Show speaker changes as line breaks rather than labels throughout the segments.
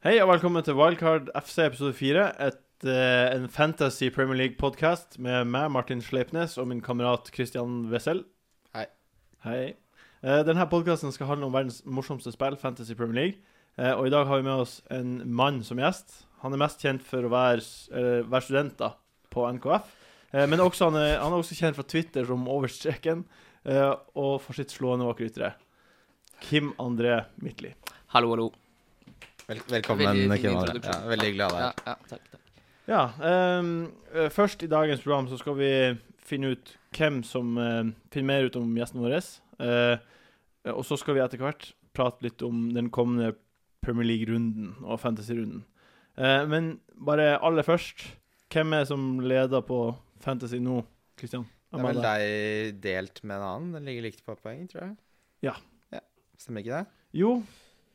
Hei og velkommen til Wildcard FC episode 4. Et, eh, en Fantasy Premier League-podkast med meg, Martin Sleipnes, og min kamerat Christian Wessel.
Hei.
Hei. Eh, denne podkasten skal handle om verdens morsomste spill, Fantasy Premier League. Eh, og i dag har vi med oss en mann som gjest. Han er mest kjent for å være, s- eh, være student da, på NKF. Eh, men også, han, er, han er også kjent fra Twitter som Overstreken, eh, og for sitt slående vakre ytre. Kim André Midtli.
Hallo, hallo.
Vel, velkommen,
Veldig fin
Kim André. Ja,
introduksjon.
veldig hyggelig å ha deg
Ja,
her.
ja, takk, takk.
Ja. ehm, eh, først i dagens program så skal vi finne ut hvem som eh, finner mer ut om gjesten vår. Eh, og så skal vi etter hvert prate litt om den kommende Premier League-runden og Fantasy-runden. Eh, men bare aller først, hvem er det som leder på Fantasy nå, Kristian?
Det er vel deg delt med en annen. Den ligger likt på poeng, tror jeg.
Ja.
Stemmer ikke det?
Jo,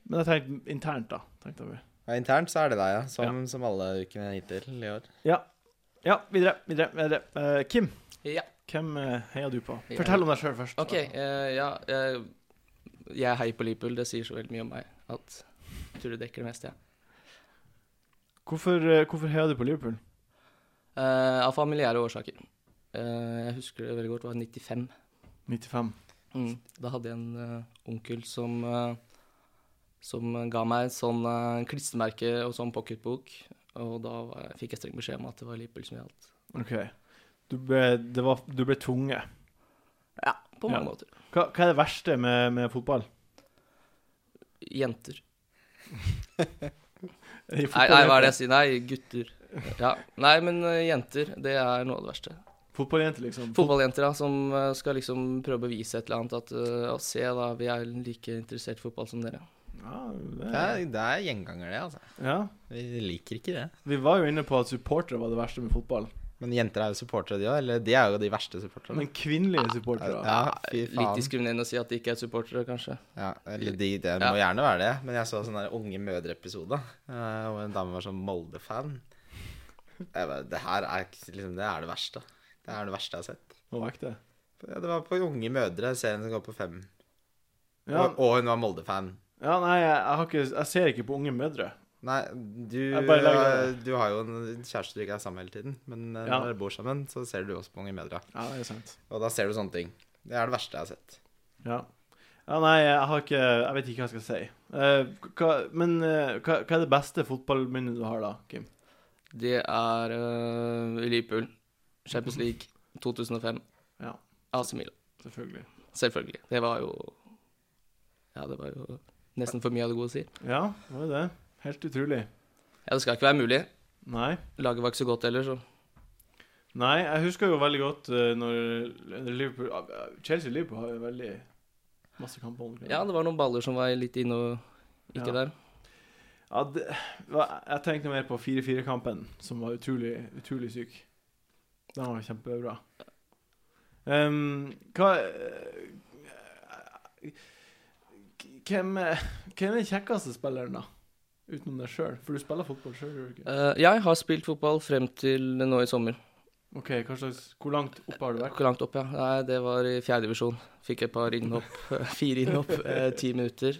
men jeg tenkte internt, da. tenkte vi.
Ja, internt så er det deg, ja. Som, som alle ukene hittil i år.
Ja, videre. videre, videre. Eh, Kim,
Ja,
hvem eh, heier du på?
Heier-
Fortell om deg sjøl først.
OK. eh, ja, eh, jeg er hei på Liverpool. Det sier så veldig mye om meg at jeg tror det dekker det meste, jeg.
Hvorfor, eh, hvorfor heier du på Liverpool?
Eh, av familiære årsaker. Eh, jeg husker det veldig godt, det var 95.
95.
Mm. Da hadde jeg en eh, onkel som, eh, som ga meg et sånn eh, klistremerke og sånn pocketbok. Og da var, jeg- fikk jeg streng beskjed om at det var Liverpool som gjaldt.
Ok. Du ble, det var, du ble tvunget.
Ja, på mange
Ja.
måter.
Hva, hva er det verste med, med fotball?
Jenter.
I fotball
Nei, nei, hva er det jeg sier? Nei, gutter. Ja. Nei, men eh, jenter, det er noe av det verste.
Fotballjente, liksom.
Fotballjenter da, som eh, skal liksom prøve å bevise et eller annet. At eh, «Å, se da, vi er like interessert i fotball som dere.
Ja,
Det
det,
er, det er gjenganger, det, altså.
ja.
Vi liker ikke det.
Vi var jo inne på at supportere var det verste med fotball.
Men jenter er jo supportere, de òg. Eller de er jo de verste supporterne.
Men kvinnelige supportere
Ja, fy
Litt
faen.
diskriminerende å si at de ikke er supportere, kanskje.
Ja, eller de, det må gjerne være det. Men jeg så sånn der Unge mødre-episode, eh, hvor en dame var sånn Molde-fan. Jeg bare, Det her er ikke- liksom Det er det verste. Det er det verste jeg har sett.
Må vekk det.
Ja, det var på Unge mødre, serien som går på fem.
Ja,
Og, og hun var Molde-fan.
ja nei, jeg, jeg, har ikke, jeg ser ikke på unge mødre.
Nei, du, eh,
Jeg bare lager-
du har jo en kjæreste du ikke er sammen med hele tiden. Men eh,
Ja.
når dere bor sammen, så ser du også på Unge mødre.
Ja, det er sant.
Og da ser du sånne ting. Det er det verste jeg har sett.
Ja. Ja, nei, jeg har ikke Jeg vet ikke hva jeg skal si. Eh, hva, men eh, hva, hva er det beste fotballminnet du har, da, Kim?
Det er eh, Liverpool, Champions League 2005,
Ja,
AC Milan.
selvfølgelig.
Selvfølgelig. Det var jo Ja, det var jo nesten for mye av det gode å si.
Ja, det var jo det. Helt utrolig.
Ja, det skal ikke være mulig.
Nei.
Laget var ikke så godt heller, så
Nei, jeg husker jo veldig godt eh, når Liverpool eh, Chelsea og Liverpool har jo veldig masse kamper. omkring.
Ja, det var noen baller som var litt inne og
Ja.
ikke der.
Ja, det, hva- jeg tenkte mer på 4-4-kampen, som var utrolig, utrolig syk. Den var kjempebra. Ehm, hva eh, hvem, eh, hvem er den kjekkeste spilleren, da? Utenom deg sjøl? For du spiller fotball sjøl, gjør du ikke?
Eh, jeg har spilt fotball frem til nå i sommer.
OK, hva slags, hvor langt oppe har du vært?
Ikke langt opp, ja. Nei, det var i fjerde divisjon. Fikk et par innhopp. Fire innhopp, eh, ti minutter.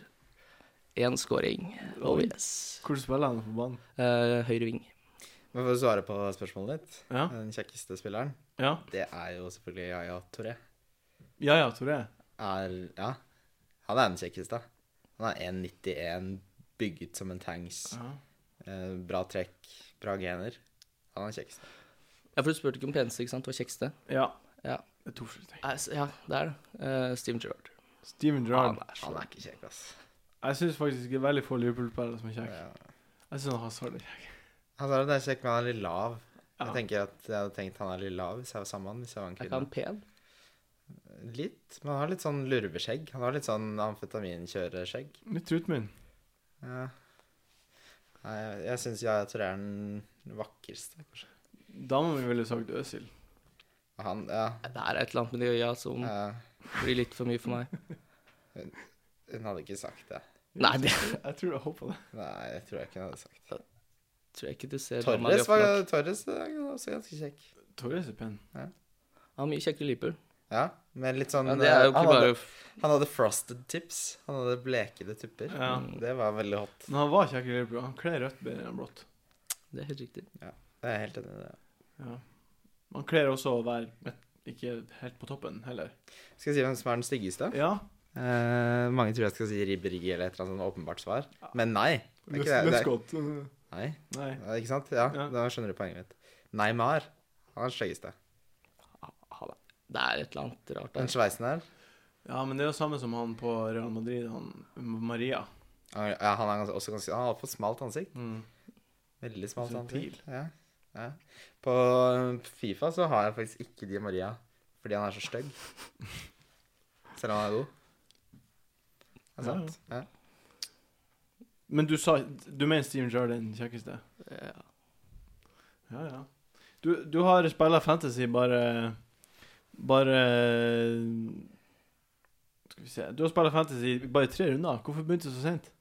Én scoring. Oh yes.
Hvor spiller han på banen?
Eh, høyre ving.
Men for å svare på spørsmålet ditt,
Ja,
den kjekkeste spilleren,
ja,
det er jo selvfølgelig Yaya Toré.
ja, ja Toré.
Er Ja. Han er den kjekkeste. Han er 1,91, bygget som en tanks.
Ja.
Eh, bra trekk, bra gener. Han er den kjekkeste.
Ja, for du spurte ikke om peneste, ikke sant? Det var kjekkeste.
Ja.
Ja.
Det er to forskjellige ting.
Eh, s- ja, det er det. Eh, Steven Gerrard.
Steven Gerrard.
Han er ikke kjekk, ass.
Jeg syns faktisk det er veldig få Liverpool-spillere som er kjekke.
Ja.
Jeg syns Hazard er kjekk.
Han sa at det er kjekk, men han er litt lav.
Ja.
Jeg tenker at jeg hadde tenkt han er litt lav hvis jeg var sammen med han, hvis jeg var en
Er ikke han
kvinne.
pen?
Litt, men han har litt sånn lurveskjegg. Han har litt sånn amfetaminkjøreskjegg.
Litt trutmunn.
Ja. Nei, jeg, jeg syns jeg tror jeg er den vakreste, kanskje.
Da må vi ville sagt Øsil.
Han, ja.
Nei, Det er et eller annet med de øya som
eh,
blir litt for mye for meg.
hun hadde ikke sagt det.
Nei, det
Jeg tror jeg håper det.
Nei, jeg tror jeg ikke hun hadde sagt det.
tror jeg ikke du ser. Han er
Torres
jo
var
flott.
Torres er også ganske kjekk.
Torres er pen.
Han er mye kjekkere i Liverpool.
Ja, men litt sånn
Ja, det er jo
eh, han,
ikke bare
hadde, han hadde frosted tips. Han hadde blekede tupper.
Ja.
Det var veldig hot.
Men han var ikke akkurat blå. Han kler rødt bedre enn blått.
Det er helt riktig.
Jeg er helt enig i det.
Ja. Han kler også å være et- ikke helt på toppen heller.
Skal jeg si hvem som er den styggeste?
Ja.
Eh, mange tror jeg skal si Ribberi eller et eller annet sånn åpenbart svar. Men nei. Det er ikke det. det er,
Løsgodt.
nei.
Nei.
Ja, Ikke sant? Ja,
Ja.
da skjønner du poenget mitt. Neymar. Han er den styggeste.
Ha det. Det er et eller annet rart
Den
der.
sveisen der.
Ja, men det er jo samme som han på Real Madrid, han Maria.
Han, ja, han er ganske, også ganske Han har fått smalt ansikt. Veldig smalt
Sånn
ansikt. Ja. Ja. På um, Fifa så har jeg faktisk ikke Di Maria fordi han er så stygg. Selv om han er god. Det er
Ja,
sant. Ja.
Men du sa Du mener Steven Jarlin, kjekkeste?
Ja.
Ja, ja. Du, du har spilla fantasy bare Bare Skal vi se Du har spilla fantasy i bare tre runder. Hvorfor begynte du så sent?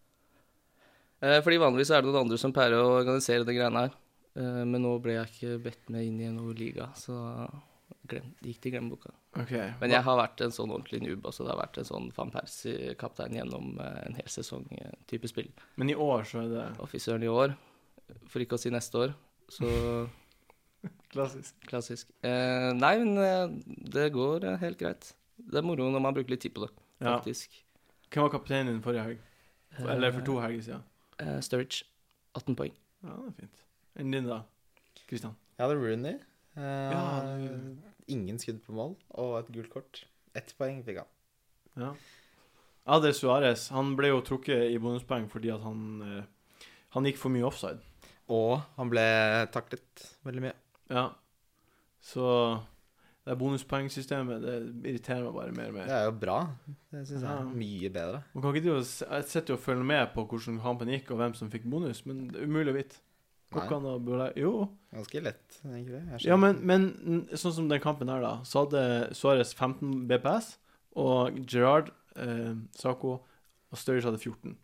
Eh, Fordi vanligvis er det noen andre som pleier å organisere de greiene her. Eh, Men nå ble jeg ikke bedt med inn i noen liga, så glem, det gikk til glemmeboka.
Ok
Men jeg har vært en sånn ordentlig noob. Altså det har vært en sånn Van Persie-kaptein gjennom eh, en hel sesong-type spill.
Men i år så er det
Offisøren i år, for ikke å si neste år, så
Klassisk.
klassisk. Eh, nei, men eh, det går eh, helt greit. Det er moro når man bruker litt tid på det,
Ja.
faktisk.
Hvem var kapteinen din forrige helg? Eller for to helger siden?
Eh, Sturridge, 18 poeng.
Ja, det er fint. Enn din, da? Kristian?
Jeg hadde Rooney. Eh,
Ja.
Ingen skudd på mål og et gult kort. Ett poeng fikk han.
Ja. Jeg hadde Suárez. Han ble jo trukket i bonuspoeng fordi at han eh, Han gikk for mye offside.
Og han ble taklet veldig mye.
Ja. Så det bonuspoengsystemet, det irriterer meg bare mer og mer.
Det er jo bra. Det syns jeg
Ja.
er mye bedre.
Man kan ikke drive og se- Jeg sitter jo og følger med på hvordan kampen gikk, og hvem som fikk bonus, men det er umulig å vite. Går
Nei.
ikke an å bule... Jo.
Ganske lett, egentlig. Jeg
Ja,
skjønner.
men, men n- sånn som den kampen her, da, så hadde Suárez 15 BPS, og Gerard, eh, Sako og Sturridge hadde 14.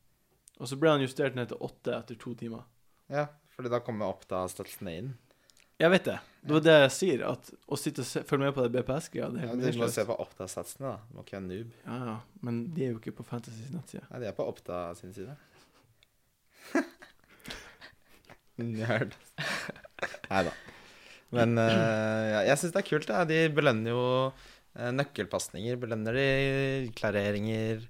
Og så ble han justert ned til 8 etter to timer.
Ja, fordi da kommer opp da statsene inn.
Jeg vet det. Det var det jeg sier, at å sitte og se, følge med på det BPS-greia, det er
Ja,
helt
du må
meningsløst.
se på Oppda-satsene, da. Du må ikke være noob.
Ja, ja, men de er jo ikke på Fantasys nettside.
Nei, de er på Oppda sin side. Nerd. Nei da. Men eh, ja, jeg syns det er kult. Da. De belønner jo eh, nøkkelpasninger. Belønner de klareringer,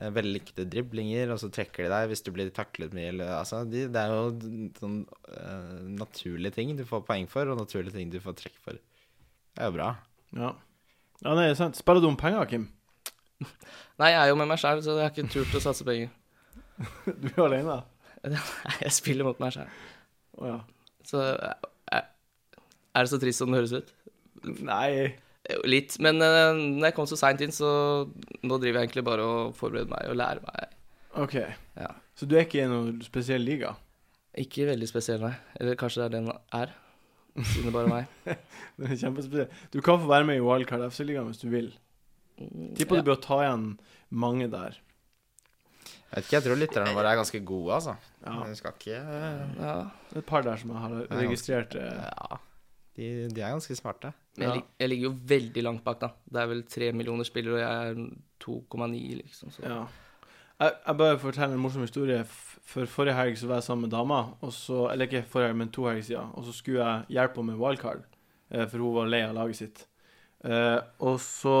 eh, vellykkede driblinger, og så trekker de deg hvis du blir taklet mye. Eller, altså, de, det er jo d- sånn eh, naturlige ting du får poeng for, og naturlige ting du får trekk for. Det er jo bra.
Ja. ja, nei, det er sant. Spiller du om penger, Kim?
Nei, jeg er jo med meg sjæl, så jeg har ikke turt å satse penger.
Du er alene?
Nei, jeg spiller mot meg sjæl.
Å ja.
Så eh, er er det så trist som det høres ut?
Nei.
Jo, Litt. Men eh, når jeg kom så seint inn, så nå driver jeg egentlig bare og forbereder meg og lærer meg.
OK.
Ja.
Så du er ikke i noen spesiell liga?
Ikke veldig spesiell, nei. Eller kanskje det er den er, siden det bare er meg.
Det er kjempespesiell. Du kan få være med i Wildcard FC-ligaen hvis du vil.
Mm,
Tipper
ja.
du bør ta igjen mange der.
Jeg vet ikke, jeg tror lytterne våre er ganske gode, altså.
Ja.
Du skal ikke eh,
Ja,
Et par der som jeg har
ganske-
registrert. eh,
Ja, de, de er ganske smarte.
men jeg,
Ja.
lig- jeg ligger jo veldig langt bak, da. Det er vel tre millioner spillere, og jeg er 2,9, liksom. Så.
Ja. Jeg, jeg bare forteller en morsom historie. F- For forrige helg så var jeg sammen med dama, og så, eller ikke forrige helg, men to helger siden, og så skulle jeg hjelpe henne med wildcard, eh, for hun var lei av laget sitt. Eh, og så,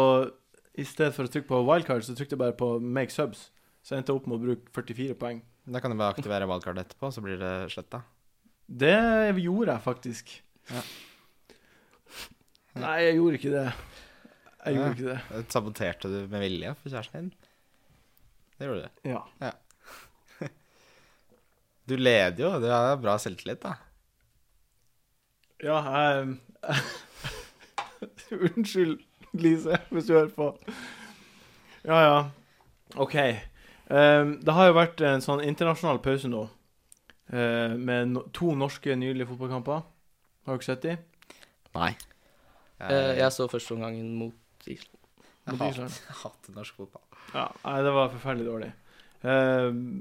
i stedet for å trykke på wildcard, så trykte jeg bare på make subs. Så jeg endte opp med å bruke 44 poeng.
Da kan du bare aktivere valgkartet etterpå, så blir det sletta.
Det gjorde jeg faktisk.
Ja.
Nei, jeg gjorde ikke det. Jeg gjorde
Ja.
ikke det.
Saboterte du med vilje for kjæresten din? Det gjorde du.
Ja.
Du leder jo, du har bra selvtillit, da.
Ja, jeg Unnskyld, Lise, hvis du hører på. Ja, ja. OK. Ehm, det har jo vært en sånn internasjonal pause nå, eh, med no to norske nydelige fotballkamper. Har du ikke sett de?
Nei.
Eh,
Jeg,
Jeg så første omgangen mot Island.
jeg
mot
hater,
Island.
hater norsk fotball.
Ja, nei, det var forferdelig dårlig. Ehm,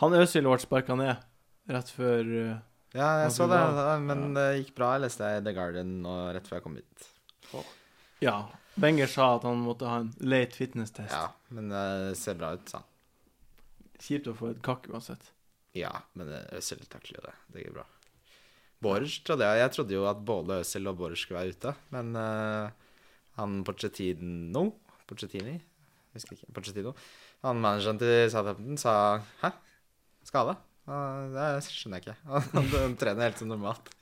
han Øzil ble sparka ned rett før eh,
Ja, jeg
Norsk
så det,
fotball.
men det gikk bra. Jeg leste det i The Guardian nå rett før jeg kom hit.
Ja. Wenger sa at han måtte ha en late fitness-test.
Ja, men det ser bra ut, sa han.
Kjipt å få et kakk uansett.
Ja, men Øzil takler jo det. Det går bra. Borch trodde jeg Jeg trodde jo at både Øzil og Borch skulle være ute, men eh, han Pochettino Pochettini? Jeg Husker ikke. Pochettino. Han manageren til Southampton sa Hæ? Skade? Ah, Det skjønner jeg ikke. Han trener helt som normalt.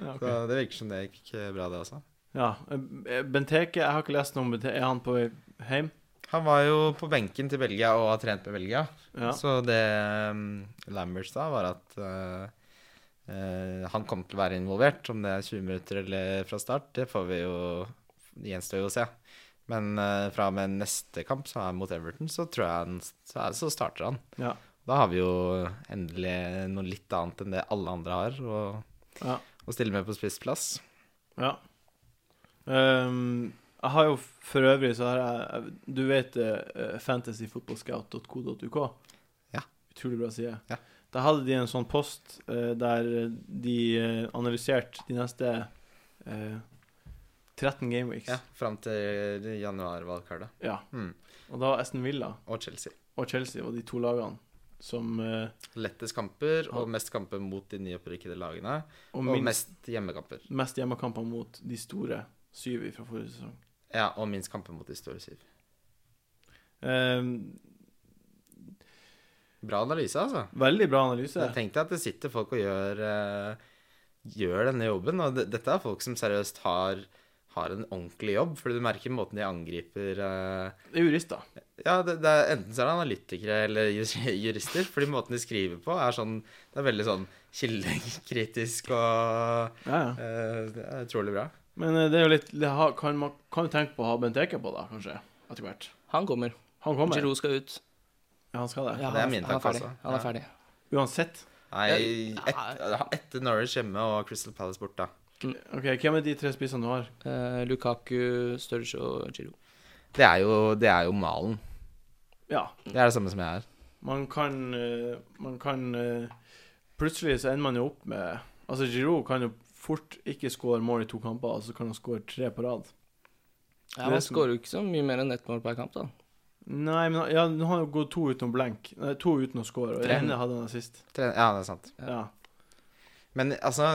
Ja, ok.
Så det virker som det gikk bra, det også.
ja. eh, Benteke, jeg har ikke lest noe om Benteke. Er han på vei hjem?
Han var jo på benken til Belgia og har trent med Belgia.
Ja.
Så det um, Lambert sa, var at eh, eh, han kommer til å være involvert. Om det er 20 minutter eller fra start, det får vi jo det gjenstår jo å se. Men eh, fra og med neste kamp, som er mot Everton, så tror jeg han så, er, så starter han.
Ja.
Da har vi jo endelig noe litt annet enn det alle andre har, å-
Ja.
å stille med på spissplass.
Ja. Ehm, jeg har jo for øvrig så har jeg Du vet uh, fantasyfotballscout.co.uk?
Ja.
Utrolig bra side.
Ja.
Der hadde de en sånn post eh, der de eh, analyserte de neste eh, 13 gameweeks.
Ja, Fram til januar-valgkartet.
Ja.
Mm.
Og da var Aston Villa
Og Chelsea.
og Chelsea var de to lagene som eh,
Lettest kamper
Ja.
og mest kamper mot de nyopprykkede lagene.
Og
Og
minst,
mest hjemmekamper.
mest hjemmekamper mot de store syv fra forrige sesong.
Ja, og minst kamper mot de store syv.
Ehm,
Bra analyse, altså.
veldig bra analyse.
Men Tenk deg at det sitter folk og gjør, eh, gjør denne jobben. Og det, dette er folk som seriøst har, har en ordentlig jobb, fordi du merker måten de angriper eh,
Det er jurister.
Ja, det, det er, enten så er det analytikere eller jus- jurister, fordi måten de skriver på, er sånn Det er veldig sånn kildekritisk og
Ja, ja.
eh, Det er utrolig bra.
Men eh, det er jo litt det har, kan, Man kan jo tenke på å ha Bent Eke på, da, kanskje. Etter hvert.
Han kommer.
Han kommer.
Giroud skal ut.
Ja, han skal det.
Ja,
det er
han-
min
han
takk
ferdig.
også.
Han er
Ja.
ferdig.
Uansett.
Nei, et, etter Norwich hjemme og Crystal Palace borte.
OK, hvem er de tre spissene du har?
Eh, Lukaku, Sturridge og Giroud.
Det er jo, det er jo malen.
Ja,
Det er det samme som jeg er.
man kan eh, Man kan eh, Plutselig så ender man jo opp med Altså, Giroud kan jo fort ikke skåre mål i to kamper, og så kan han skåre tre på rad. Det
Ja,
er
Han
som-
skårer jo ikke så mye mer enn ett mål per kamp, da.
Nei, men ja, nå har han jo gått to uten blank. Nei, to uten å score, og
Tre.
det ene hadde han sist.
Tre- Ja, det er sant.
Ja.
Ja.
Men altså,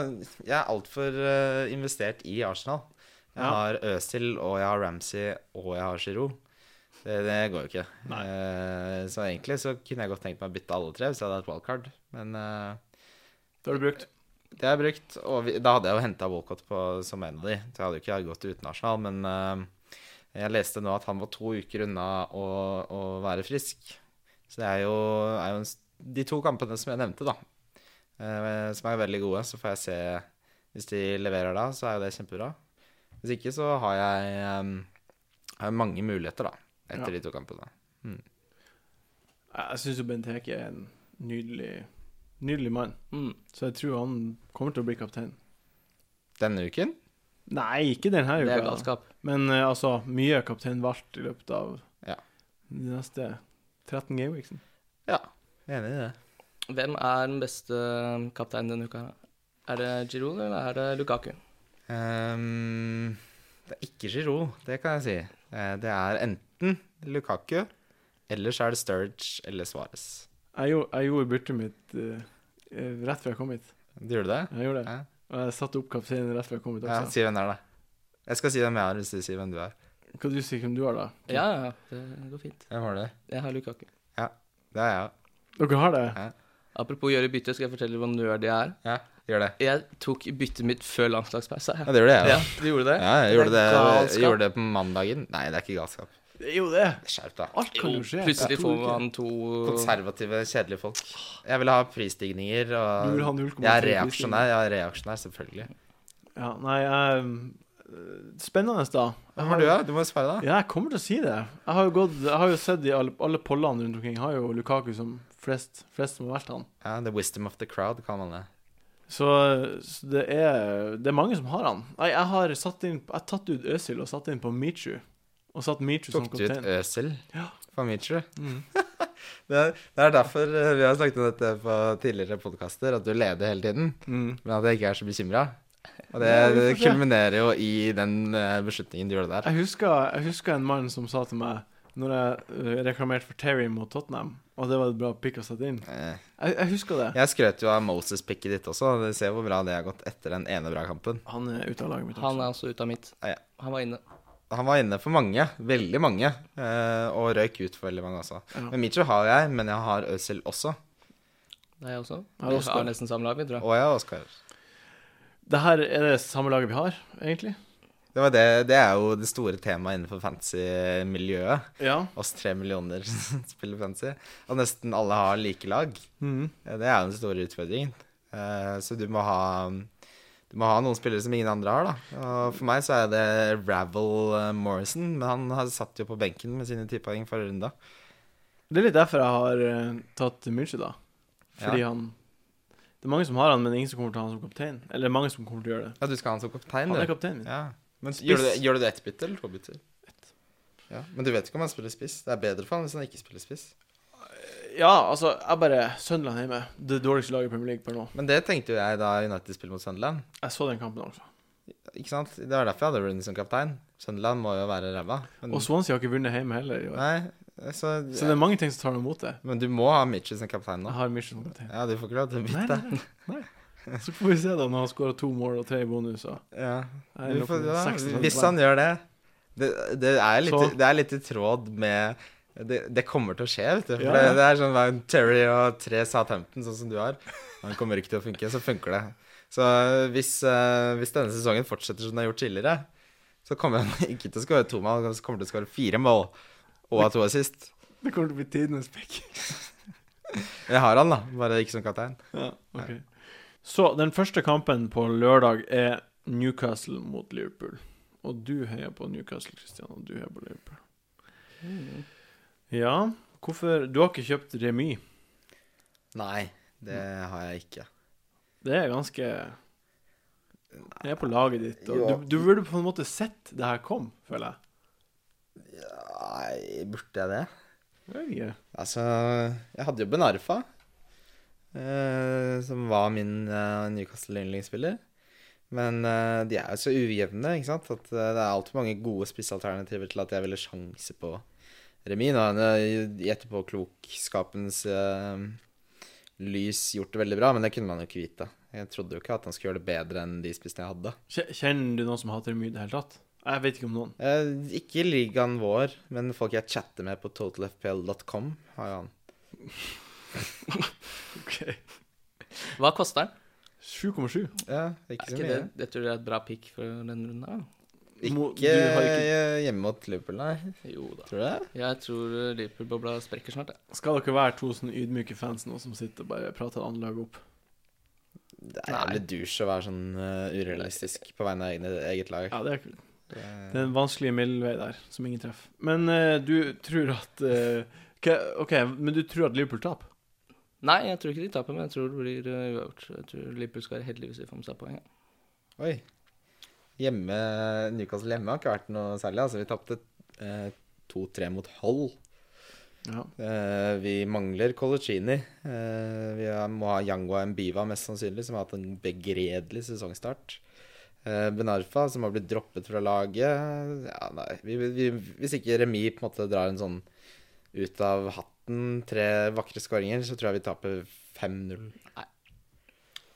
jeg er altfor uh, investert i Arsenal. Jeg
Ja.
har Øzil, og jeg har Ramsey, og jeg har Giroud. Det, det går jo ikke.
Nei.
Eh, så egentlig så kunne jeg godt tenkt meg å bytte alle tre hvis jeg hadde hatt wildcard. Men eh,
Da har du brukt.
det har jeg brukt. Og vi, da hadde jeg jo henta Walcott på, som en av de, så jeg hadde jo ikke gått uten Arsenal. Men eh, jeg leste nå at han var to uker unna å, å være frisk. Så det er jo, er jo en, s- de to kampene som jeg nevnte, da, eh, som er veldig gode. Så får jeg se Hvis de leverer da, så er jo det kjempebra. Hvis ikke, så har jeg, eh, har jeg mange muligheter, da, etter
Ja.
de to kampene.
Jeg- Jeg syns jo Bent Eke er en nydelig Nydelig mann,
Mm.
så jeg tror han kommer til å bli kaptein.
Denne uken
Nei, ikke denne
Det
uka.
er galskap.
Men eh, altså, mye er kaptein valgt i løpet av
Ja.
de neste 13 gameweeksen.
Enig i det.
Hvem er den beste um, kapteinen denne uka? her? Er det Giroud eller er det Lukaku?
Ehm, det er ikke Giroud, det kan jeg si. Eh, Det er enten Lukaku, eller så er det Sturge eller Suarez.
Jeg, gjorde- jeg gjorde byttet mitt eh, eh, rett før jeg kom hit.
Du gjorde det?
Jeg gjorde det.
Ja.
Og jeg satte opp kapteinen rett før jeg kom hit
Ja,
også.
si hvem det er, da. Jeg skal si hvem jeg er, hvis du sier hvem du er.
Hva du sier hvem du har, da?
Ja, ja, ja, det går fint.
Hvem var det?
Jeg har Lukaku.
Det er jeg òg.
Dere har det?
Apropos gjøre bytte, skal jeg fortelle hvor nerd jeg er.
Ja, gjør det.
Jeg tok byttet mitt før landslagspausa.
Ja,
jeg.
det gjorde jeg
Ja,
òg.
du gjorde det?
Ja, jeg
Det er
gjorde det,
galskap.
jeg gjorde det på mandagen. Nei, det er ikke galskap.
Det er jo det!
Skjerp deg.
Alt kan jo skje.
Plutselig
To
får
uker.
man to
Konservative, kjedelige folk. Jeg vil ha prisstigninger og
Du vil ha
Jeg er
0,3
reaksjonær, jeg er reaksjonær, selvfølgelig.
Ja, nei, jeg eh, Spennende, da. Jeg
Hvem var du, da? Du må jo svare, da.
Ja, jeg kommer til å si det. Jeg har jo, gått, jeg har jo sett i alle, alle pollene rundt omkring. Jeg har jo Lukaku som flest, flest som har valgt han.
Ja, The wisdom of the crowd, kaller man det.
Så, så det, er, det er mange som har han. Nei, jeg har satt inn, jeg har tatt ut Øzil og satt inn på Michu. Og satt Michu som
Tok du ut
kaptein.
Øsel
Ja.
for Mitchu?
Mm.
Det er, det er derfor eh, vi har snakket om dette på tidligere podkaster, at du leder hele tiden.
Mm.
Men at jeg ikke er så bekymra. Og det, det kulminerer jo i den eh, beslutningen du gjorde der.
Jeg husker, jeg husker en mann som sa til meg når jeg eh, reklamerte for Terry mot Tottenham, og det var et bra pick å sette inn.
Eh,
Jeg, jeg husker det.
Jeg skrøt jo av Moses-picket ditt også. Du ser hvor bra det har gått etter den ene bra kampen.
Han er ute av laget mitt. også.
Han er også ute av mitt.
Ja, ja.
Han var inne.
Han var inne for mange, veldig mange, eh, og røyk ut for veldig mange også.
Ja.
Men Micho har jeg, men jeg har Øzil også.
Det er jeg også.
Ja,
Vi
Oskar.
har nesten samme lag, vi, tror jeg.
Og jeg har Oscar.
Det her er det samme laget vi har, egentlig.
Det, var det, det er jo det store temaet innenfor fantasy-miljøet.
Ja.
Oss tre millioner som spiller fantasy, og nesten alle har like lag.
Mhm.
Eh, Det er jo den store utfordringen. Eh, Så du må ha Du må ha noen spillere som ingen andre har, da. Og for meg så er det Ravel eh, Morrison, men han har satt jo på benken med sine ti poeng forrige runde.
Det er litt derfor jeg har eh, tatt München, da. Fordi
Ja.
han Det er mange som har han, men ingen som kommer til å ha han som kaptein. Eller mange som kommer til å gjøre det.
Ja, du skal ha han som kaptein,
Han er
du.
kapteinen min.
Ja. Men
Spiss.
gjør du, det, gjør du det ett bytte eller to bytter? Ja. Men du vet ikke om han spiller spiss. Det er bedre for han hvis han ikke spiller spiss.
Ja, altså, jeg bare Sunderland hjemme. Det dårligste laget i Premier League per nå.
Men det tenkte jo jeg da United spilte mot Sunderland.
Jeg så den kampen, altså.
Ikke sant? Det var derfor jeg hadde Rooney som kaptein. Sunderland må jo være ræva. Men-
Og Swansea har ikke vunnet hjemme heller. i år.
Nei, så,
Så det er mange ting som tar meg imot det.
Men du må ha Mitchell som kaptein nå.
Jeg har München som kaptein.
Ja, du får ikke lov til å
Nei,
bytte.
nei, nei. nei. Så får vi se, da, når han skårer to mål og tre bonuser.
Ja.
Jeg er
Vi får,
oppe med
ja.
36
Hvis
poeng.
han gjør det det, det, er litt,
Så-
det er litt i tråd med det, det kommer til å skje, vet du. For
Ja,
det,
ja.
det er sånn hva en Terry og tre Southampton, sånn som du har. Han kommer ikke til å funke, så funker det. Så hvis, eh, hvis denne sesongen fortsetter som den har gjort tidligere, så kommer han ikke til å skåre to mål, han kommer til å skåre fire mål og ha to assist.
Det kommer til å bli tidenes pick.
Men jeg har han, da, bare ikke som kaptein.
Ja, ok. Så den første kampen på lørdag er Newcastle mot Liverpool. Og du heier på Newcastle, Christian, og du heier på Liverpool.
Mm.
Ja, hvorfor Du har ikke kjøpt remis.
Nei, det har jeg ikke.
Det er ganske Det er på laget ditt.
Ja.
Og du, du burde på en måte sett det her kom, føler jeg.
Nei, burde jeg det?
Jeg vet ikke.
Altså, jeg hadde jo Ben Arfa, eh, som var min eh, Newcastle-yndlingsspiller. Men eh, de er jo så ujevne, ikke sant, at eh, det er altfor mange gode spissalternativer til at jeg ville sjanse på remis. Nå har han i etterpåklokskapens eh, lys gjort det veldig bra, men det kunne man jo ikke vite. Jeg trodde jo ikke at han skulle gjøre det bedre enn de spissene jeg hadde.
Kje- Kjenner du noen som hater remis i det hele tatt? Jeg vet ikke om noen.
Eh, ikke ligaen vår, men folk jeg chatter med på totalfpl.com, har jo han.
Ok.
Hva koster den?
7,7.
Ja,
Er
ikke så
ikke
mye.
det, det tror jeg er et bra pick for denne runden her. da.
Ikke,
Mo- du har ikke-
hjemme mot Liverpool, nei.
Jo da.
Tror du det?
Jeg tror Liverpool-bobla sprekker snart, jeg.
Skal dere være to sånne ydmyke fans nå som sitter og bare prater andre lag opp?
Det er jævlig douche å være sånn eh, urealistisk på vegne av egne, eget lag.
Ja, det er kult.
Det-
Det er en vanskelig middelvei der, som ingen treffer. Men eh, du tror at eh, hva- OK, men du tror at Liverpool taper?
Nei, jeg tror ikke de taper, men jeg tror det blir eh, uavgjort. Jeg tror Liverpool skal være heldige hvis de får med seg poeng. ja.
Oi. Hjemme, Newcastle hjemme har ikke vært noe særlig. Altså, vi tapte eh, 2-3 mot Hull.
Ja.
Eh, vi mangler Colicini. vi har- må ha Yango Mbiva mest sannsynlig, som har hatt en begredelig sesongstart. Eh, Benarfa, som har blitt droppet fra laget. Ja, nei. Vi, vi, hvis ikke Remi på en måte drar en sånn ut av hatten, tre vakre skåringer, så tror jeg vi taper 5-0.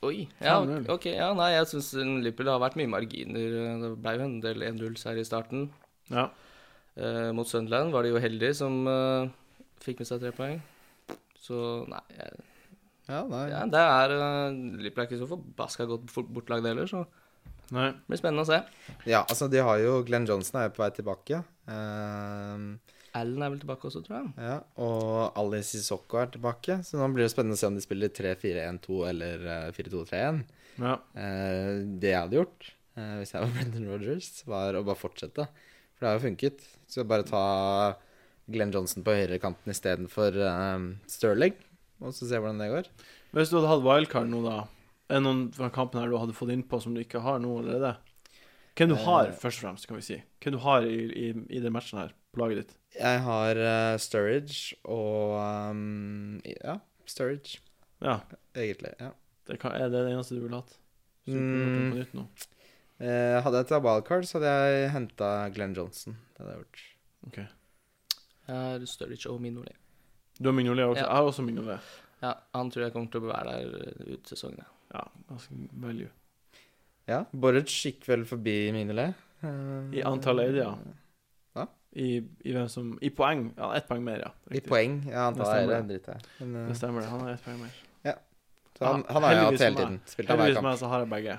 Oi. Ja,
5-0.
ok. Ja, nei, jeg syns Liverpool har vært mye marginer. Eh, Det ble jo en del 1-0s her i starten.
ja.
Eh, mot Sunderland var de jo heldige som eh, fikk med seg tre poeng. Så nei, jeg,
Ja, nei.
ja, det er eh, Liverpool er ikke så forbaska godt for- bortlagd heller, så det
Nei.
blir spennende å se.
Ja, altså, de har jo Glenn Johnson er jo på vei tilbake. Eh,
Allen er vel tilbake også, tror jeg.
ja, og Ali Sissoko er tilbake, så nå blir det spennende å se om de spiller 3-4-1-2 eller eh, 4-2-3-1.
Ja.
Eh, det jeg hadde gjort eh, hvis jeg var Brendan Rogers, var å bare fortsette. For det har jo funket. Så bare ta Glenn Johnson på høyrekanten istedenfor um, Sterling, og så se hvordan det går.
Hvis du hadde hatt wildcard nå, da, er det noen fra kampen her du hadde fått innpå som du ikke har nå allerede? Hvem du har,
Eh.
først og fremst, kan vi si. Hvem du har i, i, i den matchen her, på laget ditt.
Jeg har eh, Sturridge og um, Ja, Sturridge,
Ja.
egentlig. Ja.
Det kan, er det det eneste du ville hatt? Så vi kunne gjort
Mm.
det på nytt nå.
Eh, hadde jeg tatt wildcard, så hadde jeg henta Glenn Johnson. Det hadde jeg gjort.
Jeg er Sturridge og Minoli.
Du har Mignolet også.
Ja.
Jeg har også Mignolet.
Ja, han tror jeg kommer til å være der eh, ut sesongen. ja.
Ja, ganske value.
Ja, Boric gikk vel forbi Minele. Eh,
I antall eide, ja.
Hva?
I, I hvem som I poeng. Ja, ett poeng mer, ja.
I
Riktig.
poeng. Ja, antall
Det stemmer.
eiere driter jeg i. Men,
Det
eh,
stemmer, det. Han har ett poeng mer.
så han,
Ja,
han har jeg
heldigvis
hatt hele
for
tiden. Spilt av hver
Heldigvis
kamp.
meg, så har jeg begge.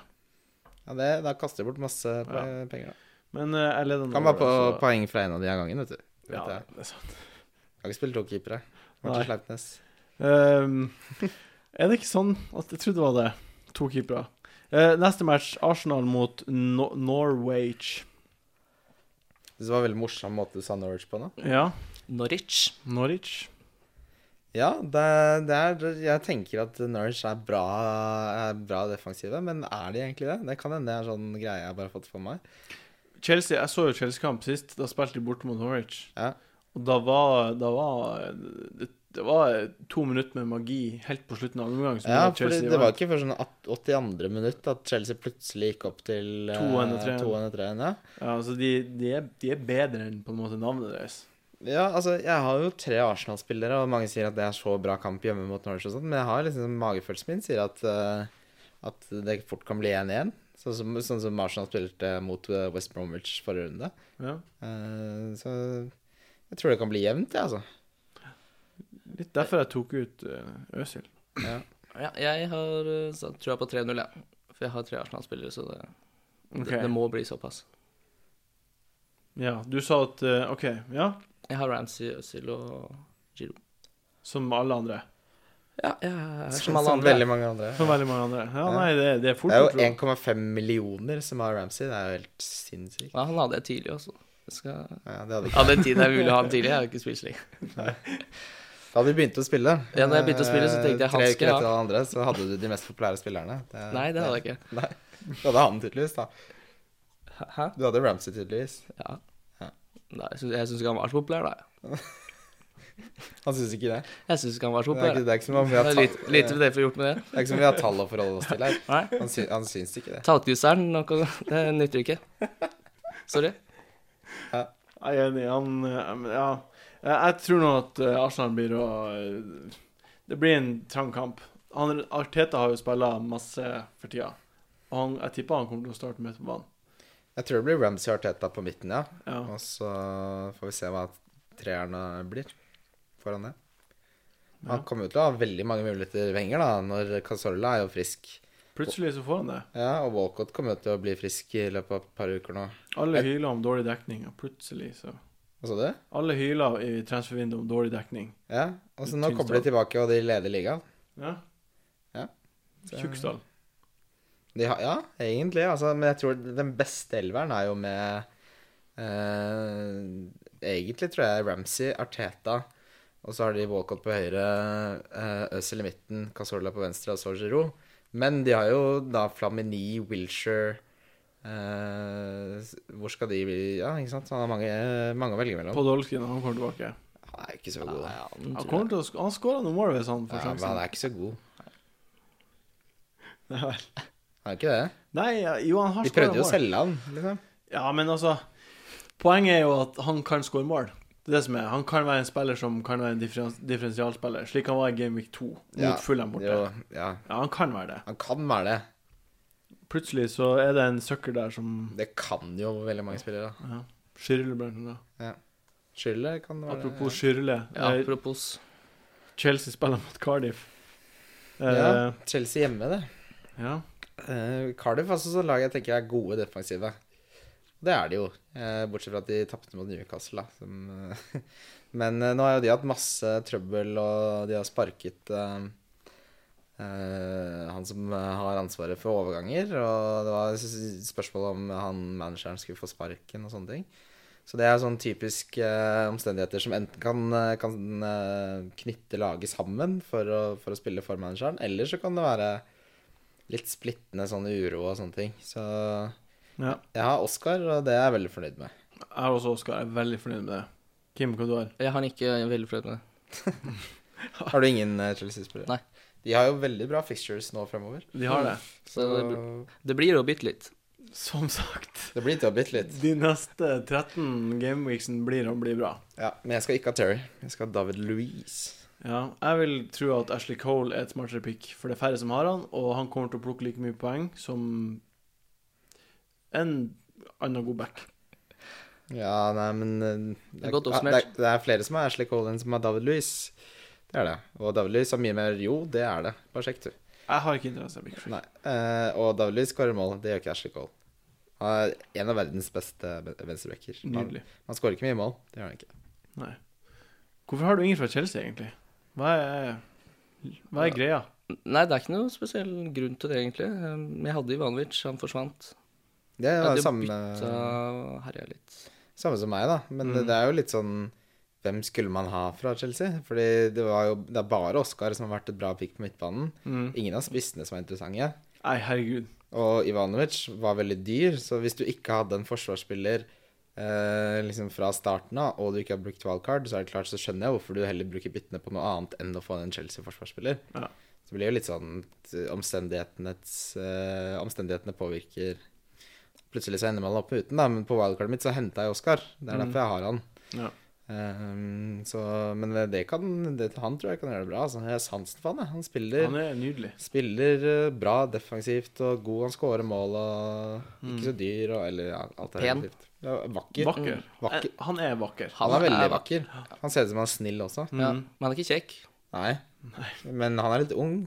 Ja, det, da kaster jeg bort masse pe-
Ja.
penger, da.
Men eh, jeg leder nå.
Kan være på
så-
poeng fra en av de av gangen, vet du. Vet
Ja,
jeg.
det er sant.
jeg har ikke spilt to keepere.
Nei.
Martin Sleipnes.
Ehm, er det ikke sånn at Jeg trodde det var det. To keepere. Eh, neste match, Arsenal mot no Norwich.
Det var en veldig morsom måte du sa Norwich på nå.
Ja,
Norwich.
Norwich.
Ja, det, det er, jeg tenker at Norwich er bra, er bra defensive, men er de egentlig det? Det kan hende det er sånn greie jeg bare har fått for meg.
Chelsea, Jeg så jo Chelsea-kamp sist. Da spilte de borte mot Norwich.
Ja.
Og da var, da var det, det var to minutter med magi helt på slutten av andre omgang. som
Ja,
gjorde at
for
Chelsea
det var
vant.
ikke før sånn at- 82. minutt at Chelsea plutselig gikk opp til eh,
203.
2-1-3. Ja.
Ja, altså de, de, er, de er bedre enn på en måte navnet deres.
ja, altså, jeg har jo tre Arsenal-spillere, og mange sier at det er så bra kamp hjemme mot Norwich og sånn, men jeg har liksom magefølelsen min sier at, eh, at det fort kan bli 1-1. Sånn som, sånn som Arsenal spilte mot eh, West Bromwich forrige runde.
Ja.
Eh, så jeg tror det kan bli jevnt, jeg, altså.
Litt derfor jeg tok ut eh, Øsil.
Ja, jeg har eh, så tror jeg på 3-0, ja. For jeg har tre Arsenal-spillere, så det, det, det må bli såpass.
Ja, du sa at eh, OK, ja.
Jeg har Ramsey, Øzil og
Som alle andre.
Ja, jeg er
Som veldig mange andre.
Som veldig mange andre. Ja,
Ja.
nei, det, det er fort
Det er
gjort, tror
jo
jeg.
1,5 millioner som har Ramsey. Det er jo helt sinnssykt.
Ja, han hadde jeg tidlig også. Jeg skal...
Ja, det hadde ikke
Ja, den tiden jeg ville ha han tidlig, jeg har ikke spilt slik.
Da hadde vi begynt å spille
Ja, når jeg begynte å spille, så tenkte jeg,
Eh,
han
Tre
skal
uker
jeg ha.
etter alle andre, så hadde du de mest populære spillerne. Det-
Nei, det hadde jeg ikke.
Nei. Du hadde han tydeligvis, da.
Hæ?
Du hadde Ramsey tydeligvis.
Ja.
Ja.
Nei, jeg syns- jeg syns ikke han var så populær, da.
Han syns ikke det.
Jeg syns ikke han var så
Det er
populær.
ikke, det er ikke som om vi
Det
har
er lite,
tall-
lite det får gjort med det.
det er ikke som om vi har tall å forholde oss til her.
Nei.
Han, sy han syns ikke det.
Tallknuseren, noe- det nytter ikke. Sorry.
Jeg er enig. Han eh, men Ja. Jeg jeg tror nå at eh, Arsenal blir å eh, Det blir en trang kamp. Han, Arteta har jo spilla masse for tida. Og han, jeg tipper han kommer til å starte midt på banen.
Jeg tror det blir Ramsey og Arteta på midten, ja.
Ja.
Og så får vi se hva treerne blir foran det. Han
Ja.
kommer jo til å ha veldig mange muligheter Wenger, da, når Casorla er jo frisk.
Plutselig så får han det.
Ja, og Walcott kommer jo til å bli frisk i løpet av et par uker nå.
Alle hyler om dårlig dekning, og plutselig så
Hva sa du?
Alle hyler i transfervinduet om dårlig dekning.
Ja, og så nå
Tynstad.
kommer de tilbake, og de leder ligaen.
Ja.
Ja.
Tjuksdal.
De har, ja, egentlig, altså, men jeg tror den beste elveren er jo med eh, Egentlig tror jeg Ramsey, Arteta, og så har de Walcott på høyre, eh, Øzil i midten, Casorla på venstre og så Giroud. Men de har jo da Flamini, Wilshere eh, Hvor skal de bli Ja, ikke sant? Så han har mange, mange å velge mellom.
Podolskin, han kommer tilbake.
Han er ikke så god. da.
Ja, den
Han
tror
kommer til å sk Han skårer noen mål hvis han
Ja,
får
men han
sjansen.
er ikke så god.
Nei, vel.
Han er ikke det.
Nei, ja, jo, han har
De prøvde
skåra
jo å
mål.
selge han, liksom.
Ja, men altså Poenget er jo at han kan skåre mål. Det er det som er. Han kan være en spiller som kan være en differens differensialspiller, slik han var i Game Week 2 mot
Ja,
Fulham borte.
Jo, ja,
Ja, han kan være det.
han kan være det.
Plutselig så er det en søkker der som
Det kan jo veldig mange spillere. da.
ja, Skyrle, blant annet.
Schürrle kan være
Apropos Skyrle.
Ja,
eh,
apropos
Chelsea spiller mot Cardiff. Eh,
det. Ja, Chelsea hjemme, det.
ja.
Eh, Cardiff er også sånn lag jeg tenker er gode defensive. Det er de jo, eh, bortsett fra at de tapte mot Newcastle. Da, som, eh, men eh, nå har jo de hatt masse trøbbel, og de har sparket eh, eh, han som eh, har ansvaret for overganger. Og det var s- s- spørsmål om han manageren skulle få sparken og sånne ting. Så det er sånn typisk eh, omstendigheter som enten kan, eh, kan eh, knytte laget sammen for å, for å spille for manageren, eller så kan det være litt splittende sånn uro og sånne ting. Så
ja.
jeg har Oscar, og det er jeg veldig fornøyd med.
Jeg er også Oskar. Jeg er veldig fornøyd med det. Kim, hva du har
Jeg har han ikke veldig fornøyd med.
Har du ingen eh, Chelsea-spillere?
Nei.
De har jo veldig bra fixtures nå fremover.
De har det.
Så det, bl- det blir å bytte litt.
Mm. Som sagt.
det blir til å bytte litt.
De neste 13 gameweeksen blir å bli bra.
Ja, men jeg skal ikke ha Terry. Jeg skal ha David Louise.
Ja, jeg vil tro at Ashley Cole er et smartere pick, for det er færre som har han, og han kommer til å plukke like mye poeng som en annen god back.
Ja, nei, men eh,
Det er godt
det,
oppsummert.
er, det er flere som har Ashley Cole enn som har David Louise. Det er det. Og David Louise har mye mer Jo, det er det. Bare sjekk, du.
Jeg har ikke interesse av Big Free.
Nei. eh, og David Louise skårer mål. Det gjør ikke Ashley Cole. Han er en av verdens beste ben- venstrebacker. Han,
Nydelig.
han skårer ikke mye mål. Det gjør han ikke.
Nei. Hvorfor har du ingen fra Chelsea, egentlig? Hva er, hva er greia?
Nei, det er ikke noe spesiell grunn til det, egentlig. Um, Jeg hadde Ivanovic, han forsvant.
Det
Jeg
var
hadde
det
jo
samme,
bytta herja litt.
samme som meg, da. Men det, det er jo litt sånn Hvem skulle man ha fra Chelsea? Fordi det, var jo, det er bare Oskar som har vært et bra pick på midtbanen. Ingen av spissene som er interessante.
Mm. Nei, herregud.
Og Ivanovic var veldig dyr, så hvis du ikke hadde en forsvarsspiller eh, liksom fra starten av, og du ikke har brukt wildcard, så er det klart så skjønner jeg hvorfor du heller bruker byttene på noe annet enn å få en Chelsea-forsvarsspiller.
Ja.
Så det blir jo litt sånn at omstendighetenes, eh, omstendighetene påvirker Plutselig så ender man opp uten, da, men på wildcardet mitt så henta jeg Oskar. Det er derfor jeg har han.
Mm. Ja.
Eh, så, men det kan, det, han tror jeg kan gjøre det bra. Altså. Jeg har sansen for han, jeg. Han spiller
Han er nydelig.
Spiller eh, bra defensivt og god. Han scorer mål og ikke så dyr og eller ja, alt er
Pen.
relativt. Ja, vakker.
Mm. Vakker.
Vakker.
Eh, Han er vakker.
Han er veldig Mm. vakker. Han ser ut som han er snill også.
Ja, men han er ikke kjekk.
Nei. Men han er litt ung.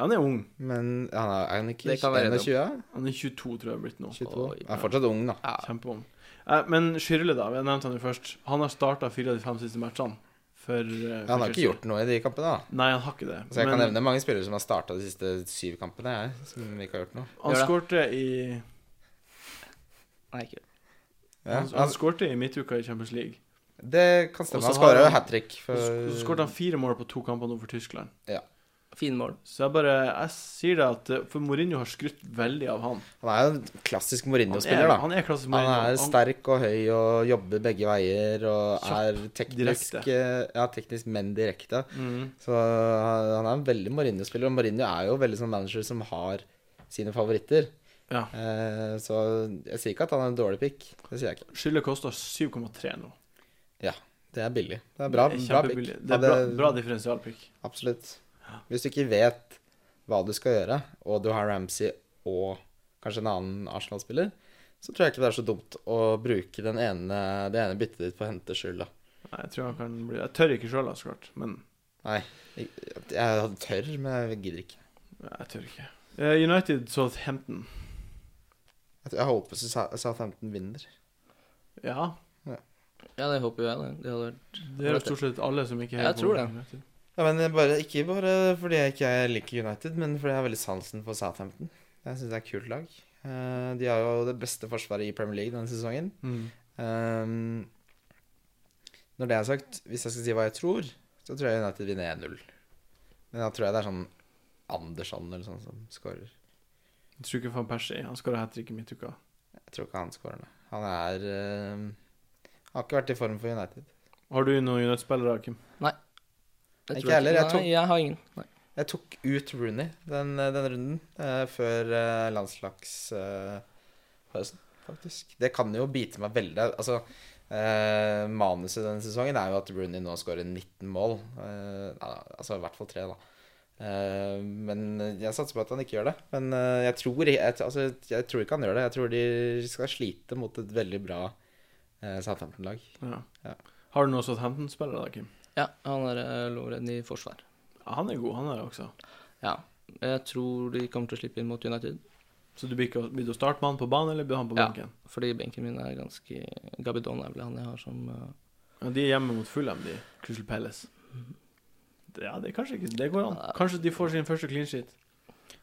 Han er ung.
Men han er, er han ikke
Det kan være
21?
Han er 22, tror jeg er blitt nå.
22?
Oi,
han er fortsatt ung, da.
Ja.
Kjempeung. Eh, men Skyrle, da. Jeg nevnte han jo først. Han har starta fire av de fem siste matchene. For, eh, for
Han har ikke
Chelsea.
gjort noe i de kampene, da.
Nei, han har ikke det.
Så jeg kan
Men-
nevne mange spillere som har starta de siste syv kampene, jeg, som ikke har gjort noe.
Han
Gjør det.
skårte i
Nei, ikke.
Ja,
Han, han
altså,
skårte i midtuka i Champions League.
det kan
Og
stemme.
så
Han
har
skåra jo
han-
hat trick.
Og
For...
så så skårte han fire mål på to kamper nå for Tyskland.
Fine mål.
Så jeg bare Jeg sier det at eh, For Mourinho har skrytt veldig av han.
Han er jo en klassisk
Han er,
Mourinho-spiller, da.
han er klassisk
Han
Mourinho.
er sterk og høy og jobber begge veier og er teknisk,
direkte.
eh, ja, teknisk men direkte.
Mhm.
Så han han er en veldig Mourinho-spiller, og Mourinho er jo veldig sånn manager som har sine favoritter.
Ja.
Eh, så jeg sier ikke at han er en dårlig pick. Det sier jeg ikke.
Skyldet koster 7,3 nå.
Ja, det er billig. Det er bra,
Det er
bra pick.
kjempebillig. Det er bra,
Hadde-
bra differensialpick.
Absolutt. Hvis du ikke vet hva du skal gjøre, og du har Ramsey og kanskje en annen Arsenal-spiller, så tror jeg ikke det er så dumt å bruke den ene, det ene byttet ditt på å hente skylda.
Nei, Jeg tror han kan bli Jeg tør ikke sjøl, da, så klart. Men
Nei, jeg, jeg hadde tørr, men jeg gidder ikke.
nei, jeg tør ikke. Eh, United Southampton.
Jeg, jeg håper Sa- Southampton vinner.
Ja.
Ja, det håper jo jeg. Det. Det hadde vært
Det er jo stort sett alle som ikke
Jeg tror det.
United.
Ja, men jeg bare, Ikke bare fordi jeg ikke liker United, men fordi jeg har veldig sansen for Southampton. Jeg syns det er et kult lag. Eh, De har jo det beste forsvaret i Premier League denne sesongen.
Mhm.
Ehm, når det er sagt, hvis jeg skal si hva jeg tror, så tror jeg United vinner 1-0. Men da tror jeg det er sånn Andersson eller sånn som scorer.
Jeg tror ikke van Persie Han skåra hat trick i midtuka.
Jeg tror ikke han scorer nå. Han er ehm, Har ikke vært i form for United.
Har du noen United-spillere, Kim?
Jeg
Ikke
tror
heller, jeg tok-
Nei, jeg har ingen. Nei.
Jeg tok ut Rooney den, den runden eh, før eh, landslagspausen, faktisk. Det kan jo bite meg veldig. Altså, eh, manuset denne sesongen er jo at Rooney nå skårer 19 mål. Eh, ja, altså i hvert fall tre, da. Eh, men jeg satser på at han ikke gjør det. Men eh, jeg, tror, jeg, altså, jeg tror ikke han gjør det. Jeg tror de skal slite mot et veldig bra eh, Southampton-lag.
Ja.
Ja.
Har du noen Southampton-spillere, da, Kim?
Ja, han er eh, Lovren i forsvar.
Ja, han er god, han er det også.
Ja. Jeg tror de kommer til å slippe inn mot United,
Så du blir ikke blir du å starte med han på banen, eller blir han på
Ja.
benken?
fordi benken min er ganske Gabidon er vel han jeg har som eh,
Ja, de er hjemme mot Fulham, de. Crystal Palace.
Mhm.
Det- Ja, det er kanskje ikke Det går an. Kanskje de får sin første clean sheet.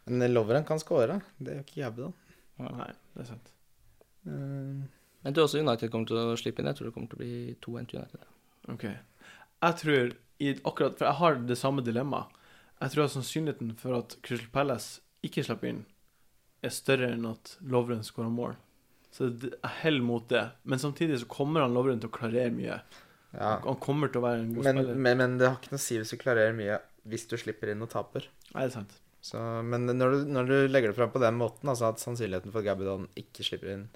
Men Lovren kan skåre. Det gjør ikke jævlig, da.
Nei, det er sant.
Eh,
Jeg tror også United kommer til å slippe inn. Jeg tror det kommer til å bli 2-1 til United.
OK. Jeg tror i akkurat For jeg har det samme dilemmaet. Jeg tror at sannsynligheten for at Crystal Palace ikke slipper inn, er større enn at Lovren skårer mål. Så det- jeg heller mot det. Men samtidig så kommer han Lovren til å klarere mye.
ja.
Han kommer til å være en god
Men,
spiller.
men, men det har ikke noe å si hvis du klarerer mye hvis du slipper inn og taper.
Nei, det er sant.
Så, men når du, når du legger det fram på den måten, altså at sannsynligheten for at Gabidon ikke slipper inn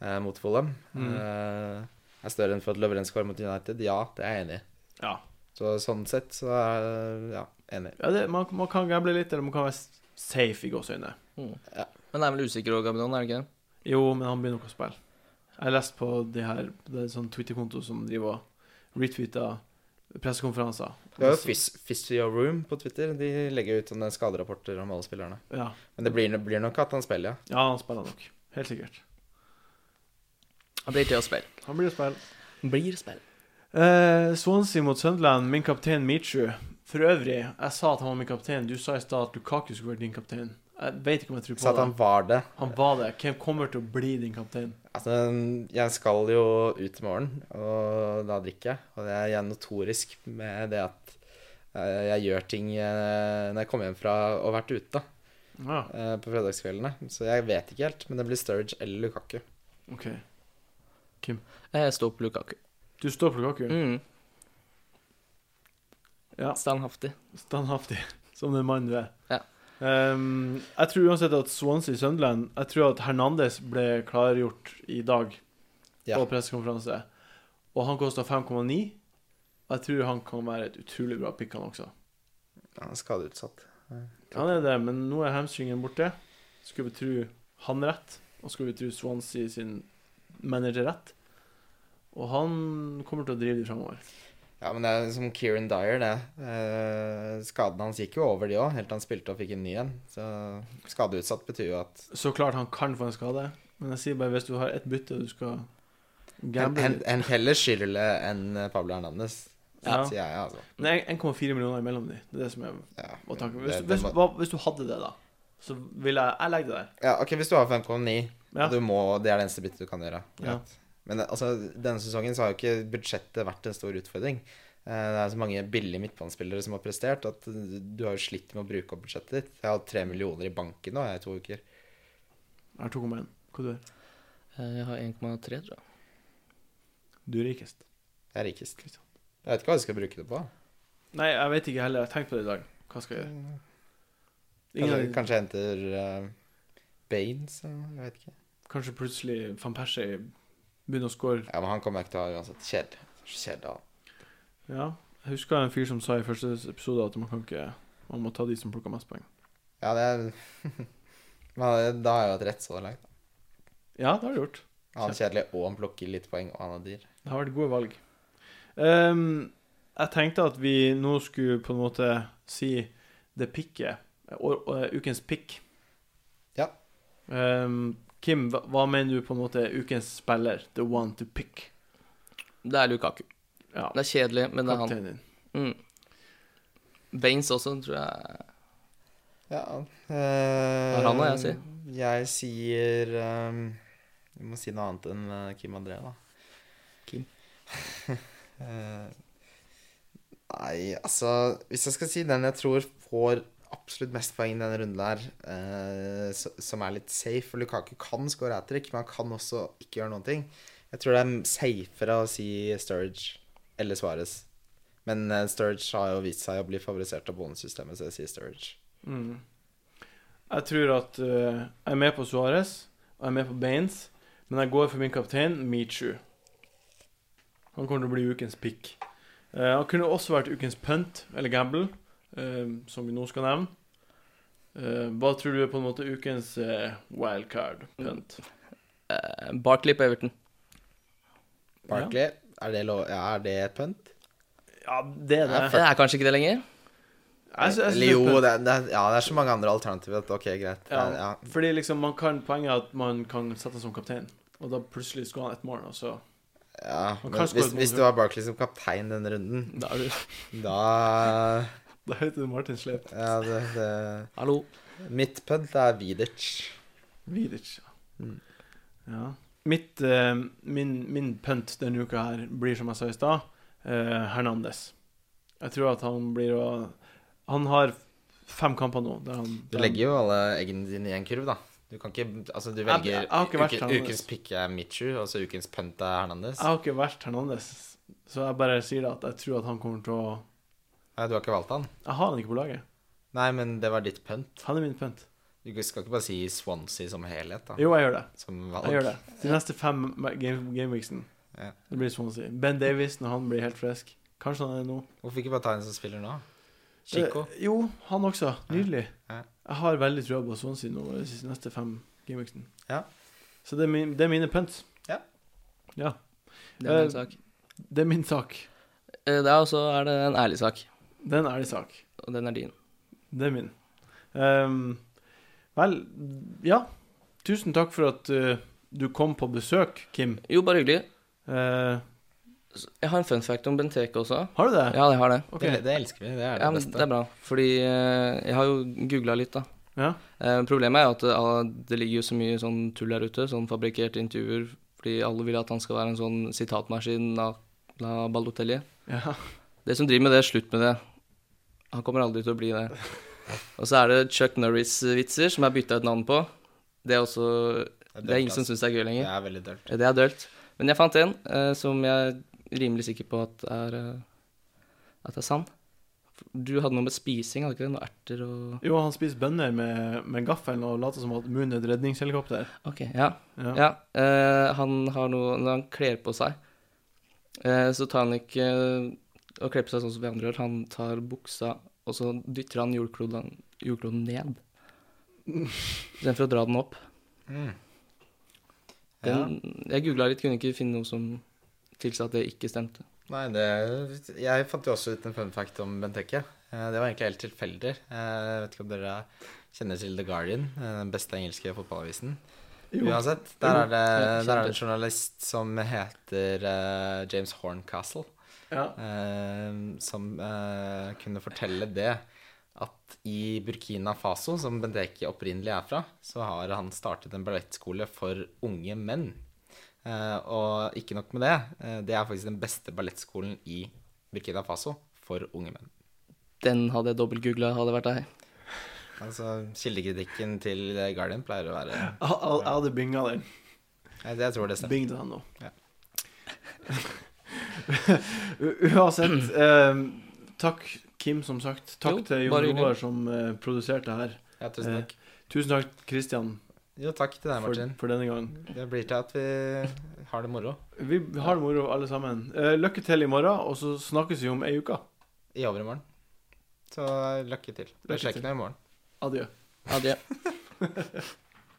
eh, mot Fulham,
Mm.
eh, er større enn for at Lovren skårer mot United, ja, det er jeg enig i.
Ja.
Så sånn sett så er ja, enig.
ja det, man, man kan gamble litt, eller man kan være s- safe i gåseøynene.
Men det er vel usikker òg, Gabidon, er det ikke? det?
Jo, men han begynner ikke å spille. Jeg har lest på de her Det er sånn Twitter-konto som driver og retweeter pressekonferanser.
Det er jo Phys- Physio Room på Twitter. De legger ut sånne skaderapporter om alle spillerne.
Ja.
Men det blir, blir nok at han spiller, ja.
ja, han spiller nok. Helt sikkert.
Han blir til å spille.
Han blir å spille.
Blir spill.
Eh, Swansea mot Sunderland, min kaptein Michu. For øvrig, jeg sa at han var min kaptein. Du sa i stad at Lukaku skulle være din kaptein. Jeg vet ikke om jeg tror på
Så at
det.
han var det.
Han var det. Hvem kommer til å bli din kaptein?
Altså, jeg skal jo ut i morgen, og da drikker jeg. Og det er- jeg er notorisk med det at eh, jeg gjør ting eh, når jeg kommer hjem fra å ha vært ute
Ja,
eh, på fredagskveldene. Så jeg vet ikke helt, men det blir Sturridge eller Lukaku.
OK.
Jeg står på Eh, Lukaku.
Du står på Lukaku.
Mm.
Ja.
Standhaftig.
Standhaftig, som den mannen du er.
Ja.
Ehm, jeg tror uansett at Swansea Sunderland Jeg tror at Hernandez ble klargjort i dag
Ja.
på pressekonferanse. Og han kosta 5,9. Og jeg tror han kan være et utrolig bra pick, han også.
Han er skadeutsatt.
Han er det, men nå er hamstringen borte. Skulle vi tro han rett, og skulle vi tro Swansea sin manager rett. Og han kommer til å drive det framover.
Ja, men det er som Kieran Dyer, det. Eh, skadene hans gikk jo over, de òg, helt til han spilte og fikk en ny en. Så skadeutsatt betyr jo at
Så klart han kan få en skade, men jeg sier bare hvis du har ett bytte og du skal
En,
gamble
en,
litt
en heller Schirle enn Pablo Hernandez,
Ja.
sier jeg, altså.
Nei, 1,4 millioner imellom de. Det er det som er
Ja,
var tanken.
det-
Hvis,
det
hvis,
må-
hva, hvis du hadde det, da, så ville jeg Jeg legger det der.
ja, ok, hvis du har 5,9,
Ja.
og du må, det er det eneste byttet du kan gjøre.
Ja.
greit. Men altså, denne sesongen så har jo ikke budsjettet vært en stor utfordring. Eh, Det er så mange billige midtbanespillere som har prestert, at du har jo slitt med å bruke opp budsjettet ditt. Jeg har hatt tre millioner i banken nå jeg, i to uker.
Jeg har 2,1. Hva du er
Eh, Jeg har 1,3, tror jeg.
du? er rikest.
Jeg er rikest. liksom.
Kristian.
Jeg vet ikke hva jeg skal bruke det på.
Nei, jeg vet ikke heller. Jeg har tenkt på det i dag. Hva skal jeg gjøre? Ingen,
Mm. Kanskje,
av-
kanskje jeg henter eh, Baines, eller jeg vet ikke.
Kanskje plutselig van Persie begynner å score.
Ja, men han kommer jeg ikke til å ha uansett. Kjedelig. Kjedelig. han.
Ja. Jeg husker en fyr som sa i første episode at man kan ikke Man må ta de som plukker mest poeng.
Ja, det er Men da har jeg jo hatt rett så langt.
Ja, det har du gjort.
Han er kjedelig, og han plukker litt poeng, og han er dyr.
Det har vært gode valg. Ehm, jeg tenkte at vi nå skulle på en måte si det picket. og- og, eh, Ukens pick.
Ja.
Ehm, Kim, hva, hva mener du på en måte er ukens spiller? The one to pick.
Det er Lukaku.
Ja,
Det er kjedelig, men det er han.
kapteinen din.
Mm. Baines også, tror jeg.
Ja.
er han og jeg sier?
Eh, Jeg sier eh, Du må si noe annet enn eh, Kim André, da.
Kim.
Eh, nei, altså Hvis jeg skal si den jeg tror får absolutt mest poeng i denne runden der, eh, s- som er litt safe For Lukaku kan score hat trick, men han kan også ikke gjøre noen ting. Jeg tror det er safere å si Sturridge eller Suarez. Men eh, Sturridge har jo vist seg å bli favorisert av bonussystemet, så jeg sier Sturridge.
Mm. Jeg tror at eh, jeg er med på Suárez og jeg er med på Baines, men jeg går for min kaptein Michu. Han kommer til å bli ukens pick. Eh, han kunne også vært ukens punt eller gamble, eh, som vi nå skal nevne. Eh, hva tror du er på en måte ukens eh, wildcard punt?
Eh, Barkley på Everton.
Barkley, er, det lov, ja, er det et punt?
Ja, det er det.
Det er kanskje ikke det lenger.
Jeg sy- jeg synes
Eller jo,
det er
det, er- det, er- ja, det er så mange andre alternativer at ok, greit.
Ja.
Ja.
punt. Fordi liksom man kan poenget er at man kan sette han som kaptein, og da plutselig skal han ett mål, og så
Ja,
Man
men
kan score
hvis,
et mål,
hvis
tror
du har Barkley som kaptein denne runden,
Da er du
da
Da heter det Martin Sleip.
ja, det, det.
Hallo.
Mitt punt er Vidic.
Vidic, ja.
Mm.
ja. Mitt, eh, min, min punt denne uka her blir, som jeg sa i stad, eh, Hernandez. Jeg tror at han blir å Han har fem kamper nå. Der han,
Du
der
legger jo alle eggene dine i en kurv, da. Du kan ikke Altså, du
Jeg- jeg-
velger
jeg har ikke vært sånn-
uke,
Hernandez.
Ukens pick er Michu, og så ukens punt er Hernandez.
han, Jeg har ikke vært Hernandez, så jeg bare sier det at jeg tror at han kommer til å
Nei, du har ikke valgt han?
Jeg har han ikke på laget.
Nei, men det var ditt pønt.
Han er min pønt.
Du skal ikke bare si Swansea som helhet, da.
Jo, jeg gjør det.
Som valg.
Jeg gjør det. De neste fem ma- game- gameweeksen.
Ja.
Det blir sånn å si. Ben Davies når han blir helt frisk. Kanskje han er det nå.
Hvorfor ikke bare ta en som spiller nå? Chico.
Eh, jo, han også. Nydelig.
Ja.
Jeg har veldig trua på Swansea nå de siste- neste fem gameweeksen.
Ja.
Så det er, min, det er mine punts.
Ja.
Ja.
Det er
Eh,
en sak.
Det er min sak.
Eh, Det er også er det en ærlig sak,
Det er en ærlig sak.
og den er din.
Det er min. Ehm, vel, ja. Tusen takk for at eh, du kom på besøk, Kim.
Jo, bare hyggelig.
Eh,
Jeg har en fun fact om Benteke også.
har du det?
Ja, jeg har det.
Ok.
Det, det elsker vi. Det er det
Ja, men
beste.
det er bra, fordi eh, jeg har jo googla litt, da.
Ja.
Eh, Problemet er jo at det, ah, det ligger jo så mye sånn tull der ute, sånn fabrikkerte intervjuer, fordi alle vil at han skal være en sånn sitatmaskin av la Balotelli.
Ja.
Det som driver med det, slutt med det. Han kommer aldri til å bli det. Og så er det Chuck Norris-vitser som er bytta ut navn på. Det er også Det er ingen som syns det er gøy
det
lenger.
er veldig dølt.
Det er dølt. Men jeg fant en eh, som jeg er rimelig sikker på at er eh, At er sann. Du hadde noe med spising, hadde ikke det? Noe erter og
Jo, han spiser bønner med, med gaffelen og later som at munnen er et redningshelikopter.
Ok, ja.
Ja.
Ja, eh, han har noe Når han kler på seg, eh, så tar han ikke eh, og kler på seg sånn som vi andre gjør. Han tar buksa, og så dytter han jordkloden, jordkloden ned. Istedenfor å dra den opp.
Mm. Ja.
Den, Jeg googla litt, kunne ikke finne noe som tilsa at det ikke stemte.
Nei, det Jeg fant jo også ut en fun fact om Benteke. Eh, Det var egentlig helt tilfeldig. Eh, Jeg vet ikke om dere kjenner til The Guardian, eh, den beste engelske fotballavisen.
Jo.
Uansett, der er det,
Ja,
der er det
kjempe.
en journalist som heter eh, James Horncastle,
Ja.
eh, som eh, kunne fortelle det at i Burkina Faso, som Benteke opprinnelig er fra, så har han startet en ballettskole for unge menn. Eh, og ikke nok med det, eh, det er faktisk den beste ballettskolen i Burkina Faso for unge menn.
Den hadde jeg dobbeltgoogla, hadde det vært deg.
Altså, Kildekritikken til The Guardian pleier å være
Jeg jeg hadde binga den.
Jeg, jeg tror det stemmer.
Bing det han nå.
Ja.
U- Uansett, ehm, takk Kim, som sagt. Takk
Jo,
til Jon
bare hyggelig.
Roar, som eh, produserte her.
Ja, tusen takk.
Tusen takk, Christian,
Jo, takk til deg,
for,
Martin.
for denne gang.
Det blir til at vi har det moro
Vi har det moro, alle sammen. Eh, lykke til i morgen, og så snakkes vi om ei uke.
i overmorgen. Så lykke til.
Lykke
Det skjer
til.
ikke noe i morgen.
Adjø.
Adjø.